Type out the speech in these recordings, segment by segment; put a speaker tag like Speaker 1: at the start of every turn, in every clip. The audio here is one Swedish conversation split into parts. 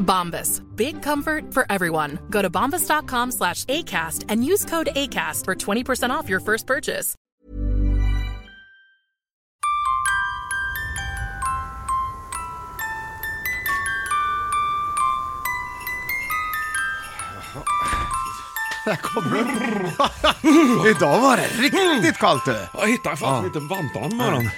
Speaker 1: Bombas. Big comfort for everyone. Go to bombas.com slash ACAST and use code ACAST for 20% off your first purchase.
Speaker 2: Där kommer du. Idag var det riktigt kallt du.
Speaker 3: Jag hittade fan en liten vantarm med den.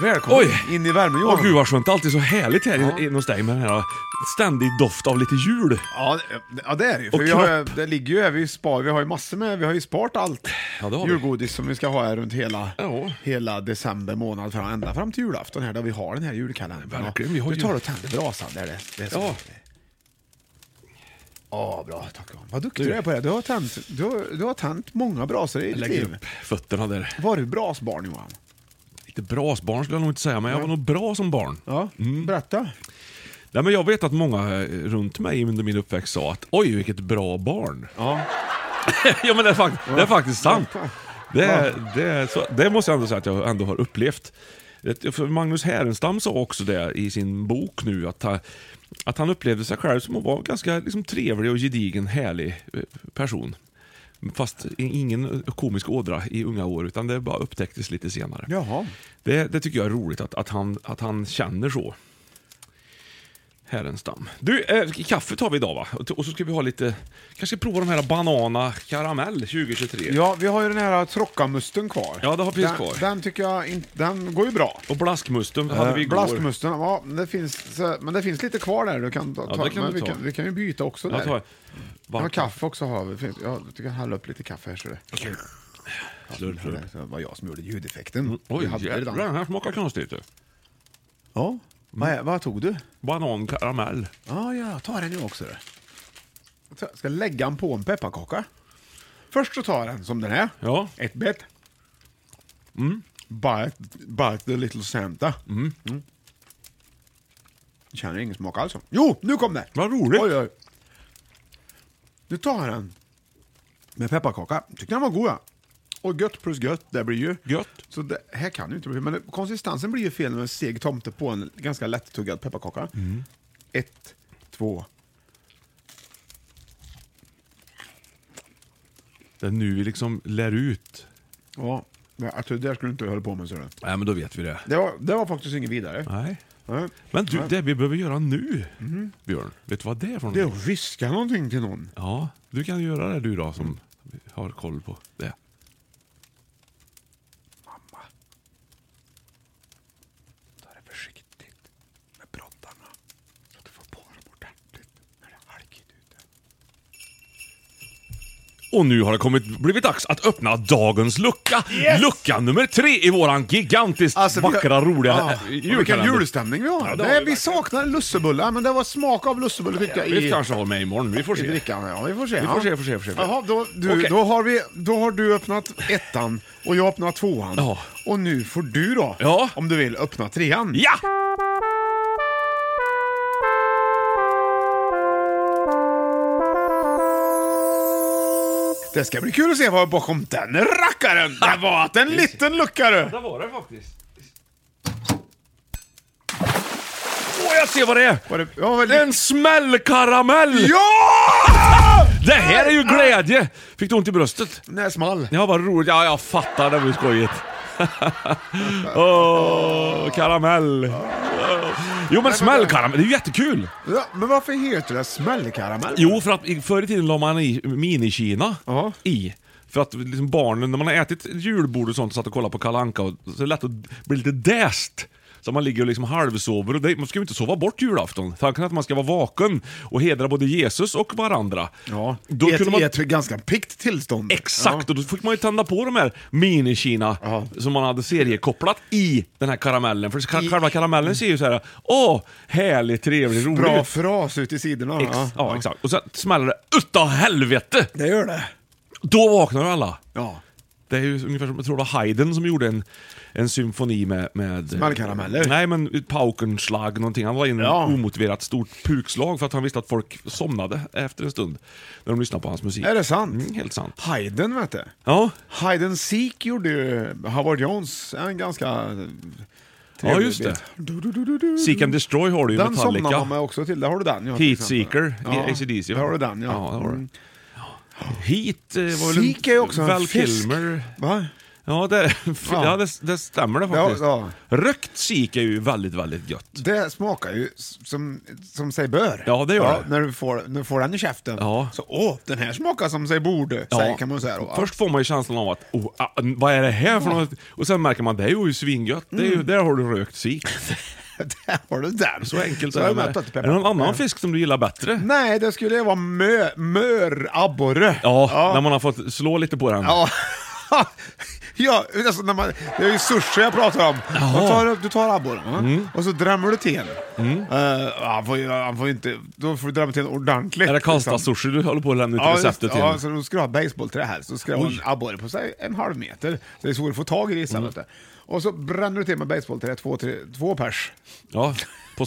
Speaker 2: Välkommen
Speaker 3: Oj.
Speaker 2: in i värmen Johan.
Speaker 3: Åh gud vad skönt, det är alltid så härligt här in- inne hos dig med den här ständig doft av lite jul.
Speaker 2: Ja, det- ja det är det ju. För
Speaker 3: Och
Speaker 2: vi har, ju-
Speaker 3: kropp.
Speaker 2: det ligger ju här, vi, spar, vi har ju massor med, vi har ju sparat allt
Speaker 3: Ja, det har vi.
Speaker 2: julgodis som vi ska ha här runt hela,
Speaker 3: Ja.
Speaker 2: hela december månad, fram, ända fram till julafton här, där vi har den här julkalendern.
Speaker 3: Verkligen, vi har
Speaker 2: du
Speaker 3: ju-
Speaker 2: tar och tänder brasan där det, det är så.
Speaker 3: Ja.
Speaker 2: Ja, bra. Tack. Johan. Vad duktig du är på det. Du har tänt, du har, du har tänt många brasor i ditt
Speaker 3: Lägger
Speaker 2: liv.
Speaker 3: upp fötterna där.
Speaker 2: Var du brasbarn Johan?
Speaker 3: Lite brasbarn skulle jag nog inte säga, men jag var nog bra som barn.
Speaker 2: Ja,
Speaker 3: Mm.
Speaker 2: berätta.
Speaker 3: Nej, men jag vet att många eh, runt mig under min uppväxt sa att oj vilket bra barn.
Speaker 2: Ja.
Speaker 3: ja men det är, fakt- det är faktiskt sant.
Speaker 2: Ja.
Speaker 3: Det, är, det, är så, det måste jag ändå säga att jag ändå har upplevt. Det- För Magnus Härenstam sa också det i sin bok nu, att han, att han upplevde sig själv som att vara en ganska liksom, trevlig och gedigen, härlig eh, person. Fast i- ingen komisk ådra i unga år, utan det bara upptäcktes lite senare.
Speaker 2: Jaha.
Speaker 3: Det, det tycker jag är roligt, att, att, han, att han känner så. Härenstam. Du, eh, kaffet har vi idag va? Och- Och så ska vi ha lite, kanske prova de här Banana Karamell 2023.
Speaker 2: Ja, vi har ju den här trockamusten kvar.
Speaker 3: Ja, det har precis
Speaker 2: den,
Speaker 3: kvar.
Speaker 2: Den tycker jag inte, den går ju bra.
Speaker 3: Och blaskmusten hade vi igår.
Speaker 2: Eh, Blaskmusten, ja, det finns, så- men det finns lite kvar där du kan ta.
Speaker 3: Ja,
Speaker 2: ta-
Speaker 3: det kan
Speaker 2: men
Speaker 3: du
Speaker 2: vi,
Speaker 3: ta.
Speaker 2: Kan, vi kan ju byta också
Speaker 3: Jag
Speaker 2: där.
Speaker 3: tar
Speaker 2: Ja,
Speaker 3: varmt
Speaker 2: kaffe också har vi. Finns- Ja, du kan hälla upp lite kaffe här. Så det.
Speaker 3: slurp, slurp.
Speaker 2: det var jag som gjorde ljudeffekten. Vi
Speaker 3: Mm. Oj,
Speaker 2: hade det
Speaker 3: jävlar
Speaker 2: redan.
Speaker 3: den här smakar konstigt. du.
Speaker 2: Ja, vad, är- vad tog du?
Speaker 3: Banan karamell.
Speaker 2: Ja, ja, ta den nu också. du. Så Jag ska lägga den på en pepparkaka. Först så tar jag den som den är.
Speaker 3: Ja. Mm.
Speaker 2: Ett bett. Bite, bite the little Santa. Mm. Känner ingen smak alls. Jo, nu kom det!
Speaker 3: Vad roligt.
Speaker 2: Oj, oj. Nu tar jag den med pepparkaka. Tyckte den var god. ja. Och gött plus gött, det blir ju.
Speaker 3: Gött.
Speaker 2: Så det här kan ju inte bli... Men det- konsistensen blir ju fel med en seg tomte på en ganska lättuggad pepparkaka.
Speaker 3: Mm.
Speaker 2: Ett, två...
Speaker 3: Det är nu vi liksom lär ut.
Speaker 2: Ja, men att det där skulle du inte hålla på med. Så det.
Speaker 3: Nej, men då vet vi det.
Speaker 2: Det, var, det var faktiskt inget vidare.
Speaker 3: Nej.
Speaker 2: Nej.
Speaker 3: Men du,
Speaker 2: Nej.
Speaker 3: det vi behöver göra nu, Björn. Vet du vad det är för
Speaker 2: Mhm. Det är
Speaker 3: någonting?
Speaker 2: att viska någonting till någon.
Speaker 3: Ja, du kan göra det du då som har koll på det.
Speaker 2: Ta det försiktigt med brottarna. Så att du får på dem ordentligt när det är halkigt ute.
Speaker 3: Och nu har det kommit, blivit dags att öppna dagens lucka. Lucka nummer tre i våran gigantiskt vackra, roliga
Speaker 2: Alltså, ja,
Speaker 3: eh,
Speaker 2: Ah, Vilken
Speaker 3: julkalender.
Speaker 2: julstämning vi har.
Speaker 3: Ja, det har
Speaker 2: Nej,
Speaker 3: vi
Speaker 2: vi saknar lussebullar, men det var smak av lussebulle tycker jag
Speaker 3: Vi
Speaker 2: i,
Speaker 3: kanske har med imorgon, vi får
Speaker 2: i
Speaker 3: se.
Speaker 2: drickan. Ja, vi får se.
Speaker 3: Vi får se, får se, får se.
Speaker 2: Jaha, då, du,
Speaker 3: Okej.
Speaker 2: då, har vi, då har du öppnat ettan och jag öppnar tvåan.
Speaker 3: Ja.
Speaker 2: Och nu får du då,
Speaker 3: Ja.
Speaker 2: om du vill, öppna trean.
Speaker 3: Ja!
Speaker 2: Det Det ska bli kul att se vad bakom den rackaren. Det var att en liten lucka du.
Speaker 3: Där var det faktiskt. Åh, jag ser vad det är!
Speaker 2: Var det- ja, väl-
Speaker 3: En smällkaramell!
Speaker 2: Ja!
Speaker 3: Det här är ju glädje! Fick du ont i bröstet?
Speaker 2: Nej, small.
Speaker 3: Ja, vad roligt. Ja, jag fattar. Det var ju skojigt. Åh, karamell. Jo, men smällkaramell, det är ju jättekul.
Speaker 2: Ja, men varför heter det smällkaramell?
Speaker 3: Jo, för att i- förr i tiden la man i minikina
Speaker 2: Ja.
Speaker 3: i. För att liksom barnen, när man har ätit julbord och sånt och satt och kollat på Kalle Anka, och- så är det lätt att bli lite däst. Så man ligger och liksom halvsover. Och det, man ska ju inte sova bort julafton. Tanken är att man ska vara vaken och hedra både Jesus och varandra.
Speaker 2: Ja,
Speaker 3: Då
Speaker 2: i ett,
Speaker 3: kunde man...
Speaker 2: i ett ganska piggt tillstånd.
Speaker 3: Exakt, och då fick man ju tända på de här mini-Kina
Speaker 2: Ja.
Speaker 3: som man hade seriekopplat i den här karamellen. För ka-
Speaker 2: I-
Speaker 3: själva karamellen ser ju så här, åh, härlig, trevlig,
Speaker 2: Ja.
Speaker 3: rolig
Speaker 2: Bra
Speaker 3: ut."
Speaker 2: fras ut i sidorna.
Speaker 3: Ex- ja, exakt. Och sen smäller det utav helvete!
Speaker 2: Det gör det.
Speaker 3: Då vaknar alla.
Speaker 2: Ja.
Speaker 3: Det är ju ungefär som, jag tror det var Haydn som gjorde en, en symfoni med... med
Speaker 2: Smällkarameller.
Speaker 3: Nej, men Paukenschlag någonting. Han la in
Speaker 2: Ja.
Speaker 3: ett omotiverat stort pukslag för att han visste att folk somnade efter en stund när de lyssnade på hans musik.
Speaker 2: Är det sant?
Speaker 3: Mm, helt sant.
Speaker 2: Haydn vet du.
Speaker 3: Ja.
Speaker 2: Hide and Seek gjorde ju Howard Jones en ganska eh, trevlig
Speaker 3: Ja, just det.
Speaker 2: bit. Du, du, du, du, du.
Speaker 3: Seek and Destroy har du ju
Speaker 2: Den somnar
Speaker 3: Metallica.
Speaker 2: man med också till. Där har du den. Ja, till
Speaker 3: Heat
Speaker 2: exempel.
Speaker 3: Seeker i AC/DC.
Speaker 2: Där har du den ja.
Speaker 3: Ja, där har du.
Speaker 2: Mm.
Speaker 3: Heat eh, var väl en-
Speaker 2: Seek är ju också en
Speaker 3: Val
Speaker 2: fisk.
Speaker 3: Kilmer.
Speaker 2: Va?
Speaker 3: Ja, det, ja. det, det stämmer det faktiskt.
Speaker 2: Ja,
Speaker 3: Rökt sik är ju väldigt, väldigt gött.
Speaker 2: Det smakar ju s- som, som sig bör.
Speaker 3: Ja, det gör det.
Speaker 2: När du får, när du får den i käften.
Speaker 3: Ja.
Speaker 2: Så åh, den här smakar som sig borde, säger, kan man säga då. va?
Speaker 3: Först får man ju känslan av att, oh, ah, vad är det här för något? Och sen märker man, det är ju svingött. Det är
Speaker 2: Mm.
Speaker 3: ju, där har du rökt sik.
Speaker 2: Där har du den.
Speaker 3: Så enkelt
Speaker 2: så
Speaker 3: är det.
Speaker 2: är
Speaker 3: med- Är det någon annan fisk som du gillar bättre?
Speaker 2: Nej, det skulle vara mö, mörabborre.
Speaker 3: Ja, när man har fått slå lite på den.
Speaker 2: Ja. ja, alltså när man, det är ju sushi jag pratar om. Man tar, du tar abborren va? och så drämmer du till mm. han, får, ju- han får ju inte... Då får du drämma till ordentligt.
Speaker 3: Är det
Speaker 2: liksom.
Speaker 3: Karlstad-sushi du håller på att lämna ut
Speaker 2: Ja, just,
Speaker 3: receptet till?
Speaker 2: ja, så de skulle ha basebollträ här, så skulle de ha
Speaker 3: Oj.
Speaker 2: en abborre på sig en halv meter. Så det är svårt att få tag i grisen. vet du.
Speaker 3: Mm.
Speaker 2: Och så bränner du till med basebollträ två, tre, två pers.
Speaker 3: Ja, på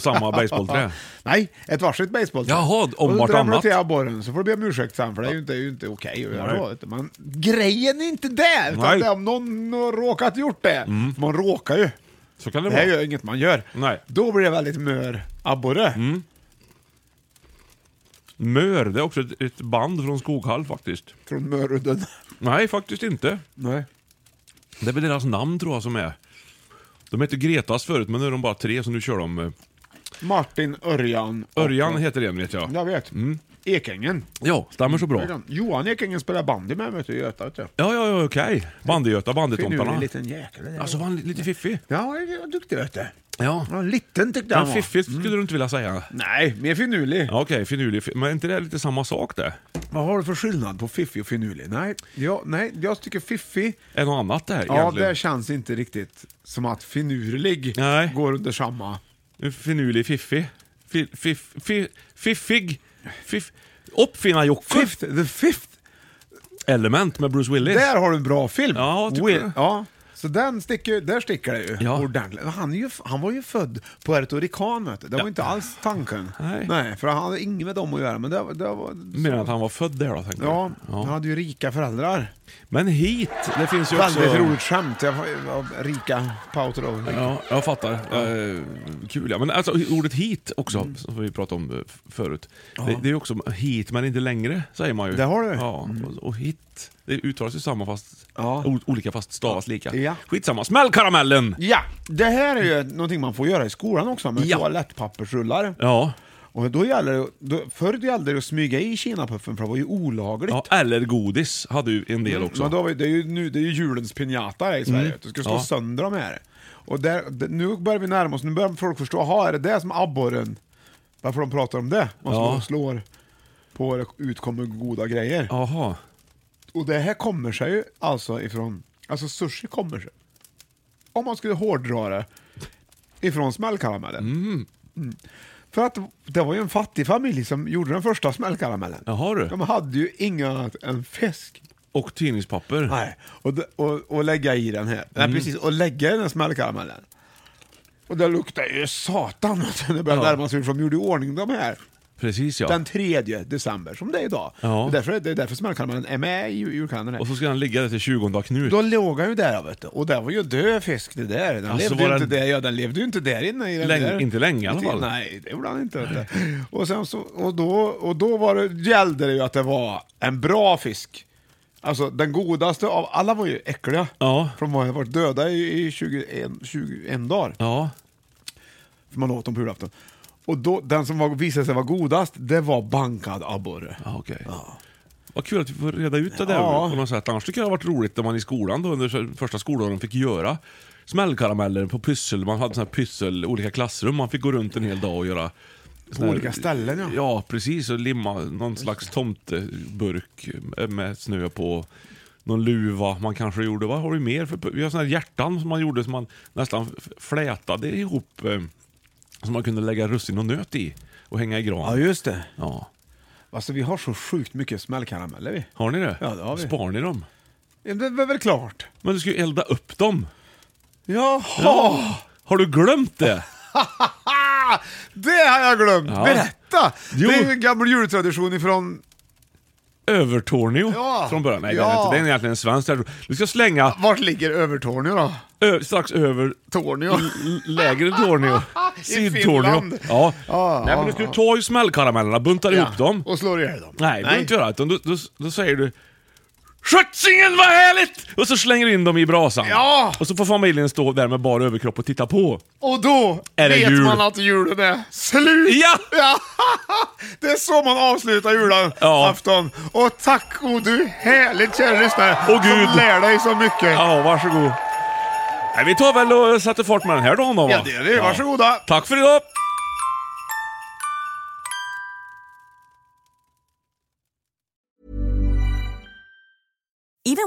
Speaker 3: samma basebollträ.
Speaker 2: Nej, ett varsitt basebollträ.
Speaker 3: Jaha, om
Speaker 2: Och så
Speaker 3: vartannat.
Speaker 2: drämmer du till abborren, så får du be om ursäkt sen, för det är ju inte, det är ju inte okej att göra
Speaker 3: Nej.
Speaker 2: då, vet du. Men grejen är inte det, utan
Speaker 3: Nej.
Speaker 2: det är om någon har råkat gjort det. För Man råkar ju.
Speaker 3: Så kan det
Speaker 2: Det här är
Speaker 3: vara.
Speaker 2: ju inget man gör.
Speaker 3: Nej. Mm.
Speaker 2: Då blir det väldigt mör abborre.
Speaker 3: Mör, det är också ett, ett band från Skoghall faktiskt.
Speaker 2: Från Mörudden.
Speaker 3: Nej, faktiskt inte.
Speaker 2: Nej.
Speaker 3: Det är väl deras namn tror jag som är. De hette Gretas förut, men nu är de bara tre, så nu kör de... eh,
Speaker 2: Martin Örjan. och-
Speaker 3: Örjan heter en vet jag.
Speaker 2: Jag vet. Ekängen.
Speaker 3: Mm. Ja, stämmer så bra.
Speaker 2: Johan Ekängen spelar bandy med vet du, i Göta. Vet du.
Speaker 3: Ja, ja, ja, okej. Bandy-Göta,
Speaker 2: Finurlig
Speaker 3: Bandytomtarna.
Speaker 2: liten jäkel. det där.
Speaker 3: Alltså, var han li- lite fiffig?
Speaker 2: Ja, han var duktig vet du.
Speaker 3: Ja.
Speaker 2: Ja, Mm. liten tyckte han
Speaker 3: Men
Speaker 2: var.
Speaker 3: fiffigt skulle du inte vilja säga.
Speaker 2: Nej, mer finurlig.
Speaker 3: Ja, okej, finurlig. fi- Men är inte det lite samma sak det?
Speaker 2: Vad har du för skillnad på fiffig och finurlig? Nej, ja, nej jag tycker fiffig,
Speaker 3: Är något annat det här
Speaker 2: ja det
Speaker 3: egentligen?
Speaker 2: känns inte riktigt som att finurlig
Speaker 3: Nej.
Speaker 2: går under samma...
Speaker 3: Finurlig, fiffig. Fi, fiff, fi, fiffig. Fiff, Uppfinnar-Jocke.
Speaker 2: Fifth, the fifth!
Speaker 3: Element med Bruce Willis.
Speaker 2: Där har du en bra film!
Speaker 3: Ja, tycker
Speaker 2: Will-
Speaker 3: du?
Speaker 2: ja. Så den sticker, där sticker det ju
Speaker 3: Ja.
Speaker 2: ordentligt. Han, är ju, han var ju född Puerto Rican vet du. Det var inte alls tanken.
Speaker 3: Nej.
Speaker 2: för han hade inget med dem att göra. Men det, var- det var,
Speaker 3: Menar att han var född där då, tänker
Speaker 2: ja,
Speaker 3: du?
Speaker 2: han hade ju rika föräldrar.
Speaker 3: Men hit, det finns ju också...
Speaker 2: Väldigt roligt skämt. Jag, jag, rika pauter och...
Speaker 3: Ja, jag fattar. Eh, kul ja. Men alltså ordet hit också,
Speaker 2: Mm.
Speaker 3: som vi pratade om eh, f- förut. Det, det är ju också hit men inte längre, säger man ju.
Speaker 2: Det har du. Mm.
Speaker 3: Ja, och, och hit, det uttalas ju samma fast,
Speaker 2: Ja.
Speaker 3: o- olika fast stavas lika.
Speaker 2: Ja.
Speaker 3: Skitsamma, smäll karamellen!
Speaker 2: Ja, det här är ju någonting man får göra i skolan också med
Speaker 3: Ja.
Speaker 2: toalettpappersrullar.
Speaker 3: Ja.
Speaker 2: Och då gäller det, då, förr gällde det att smyga i kinapuffen för det var ju olagligt.
Speaker 3: ja. Eller godis hade ju en del också. Mm.
Speaker 2: Men då, var ju- det, är ju, nu, det är ju julens pinjata här i Sverige. Du ska slå
Speaker 3: Ja.
Speaker 2: sönder de här. Och där, det- nu börjar vi närma oss, nu börjar folk förstå, jaha är det det som abborren, varför de pratar om det? Man slår,
Speaker 3: Ja.
Speaker 2: slår på vad det utkommer goda grejer.
Speaker 3: Jaha.
Speaker 2: Och det här kommer sig ju alltså ifrån, alltså sushi kommer sig, om man skulle hårdra det, ifrån smällkaramellen. Mm. För att det var ju en fattig familj som gjorde den första smällkaramellen.
Speaker 3: Jaha du.
Speaker 2: De hade ju inget annat än fisk.
Speaker 3: Och tidningspapper.
Speaker 2: Nej. Och, de- och, och lägga i den här.
Speaker 3: Mm.
Speaker 2: Nej, precis, och lägga i den här smällkaramellen. Och det luktar ju satan när det började
Speaker 3: Ja.
Speaker 2: närma sig hur de gjorde i ordning de här.
Speaker 3: Precis ja.
Speaker 2: Den 3 december, som det är idag.
Speaker 3: Ja.
Speaker 2: Det, är därför, det är därför smällkaramellen är med i jul- julkalendern. här.
Speaker 3: Och så ska den ligga där till 20 av Knut.
Speaker 2: Då låg han ju där vet du. och det var ju död fisk det där. Den,
Speaker 3: Alltså,
Speaker 2: levde,
Speaker 3: var
Speaker 2: ju
Speaker 3: den-
Speaker 2: inte där, ja, den levde ju inte där inne. I den
Speaker 3: Länge-
Speaker 2: där.
Speaker 3: inte länge i alla fall.
Speaker 2: Nej, det gjorde han inte. Vet du. Och, sen så, och då, och då var det, gällde det ju att det var en bra fisk. Alltså den godaste av alla var ju äckliga.
Speaker 3: Ja.
Speaker 2: För de har varit döda i, i 21, 21 dagar.
Speaker 3: Ja.
Speaker 2: För man åt dem på julafton. Och då, den som var, visade sig vara godast, det var bankad abborre.
Speaker 3: Ja, okej. Vad kul att vi får reda ut det där
Speaker 2: Ja.
Speaker 3: på något sätt. Annars tycker jag det har varit roligt när man i skolan då, under första skoldagen fick göra smällkarameller på pyssel. Man hade såna här pyssel, olika klassrum. Man fick gå runt en hel dag och göra... såna här-
Speaker 2: olika ställen, ja.
Speaker 3: Ja, precis. Och limma någon slags tomteburk eh, med snö på. Någon luva man kanske gjorde. Vad har vi mer för... Vi har såna här hjärtan som man gjorde som man nästan f- flätade ihop. eh, Som man kunde lägga russin och nöt i och hänga i gran.
Speaker 2: just det.
Speaker 3: ja.
Speaker 2: Alltså vi har så sjukt mycket smällkarameller vi.
Speaker 3: Har ni det?
Speaker 2: Ja, det har vi.
Speaker 3: Spar ni dem?
Speaker 2: Ja, Det var väl klart.
Speaker 3: Men du ska ju elda upp dem.
Speaker 2: Jaha!
Speaker 3: Har du glömt det?
Speaker 2: det har jag glömt!
Speaker 3: Ja.
Speaker 2: Berätta!
Speaker 3: Jo.
Speaker 2: Det är ju en gammal jultradition ifrån...
Speaker 3: Övertorneå
Speaker 2: Ja.
Speaker 3: från början. Nej, det, är
Speaker 2: Ja.
Speaker 3: inte, det är egentligen en svensk tradition. Du ska slänga
Speaker 2: Vart ligger Övertorneå då?
Speaker 3: ö, strax över
Speaker 2: Torneå?
Speaker 3: l- l- lägre Torneå.
Speaker 2: Finland.
Speaker 3: Sidtorneå. Ja.
Speaker 2: Ja,
Speaker 3: Nej,
Speaker 2: ja,
Speaker 3: men du ska ju ta ju smällkaramellerna, buntar ihop dem.
Speaker 2: Och slår ihjäl dem?
Speaker 3: Nej, det behöver du inte göra. Utan då, då, då säger du Skötsingen vad härligt! Och så slänger du in dem i brasan.
Speaker 2: Ja.
Speaker 3: Och så får familjen stå där med bara överkropp och titta på.
Speaker 2: Och då
Speaker 3: Är det
Speaker 2: vet
Speaker 3: jul?
Speaker 2: man att julen är slut!
Speaker 3: Ja!
Speaker 2: Ja, det är så man avslutar
Speaker 3: Ja.
Speaker 2: julafton. Och tack och du härligt kära lyssnare
Speaker 3: Åh, Gud.
Speaker 2: som lär dig så mycket.
Speaker 3: Ja, varsågod. Nej, vi tar väl och sätter fart med den här dagen då va?
Speaker 2: Ja, det är det. Varsågoda.
Speaker 3: Tack för idag!
Speaker 4: Even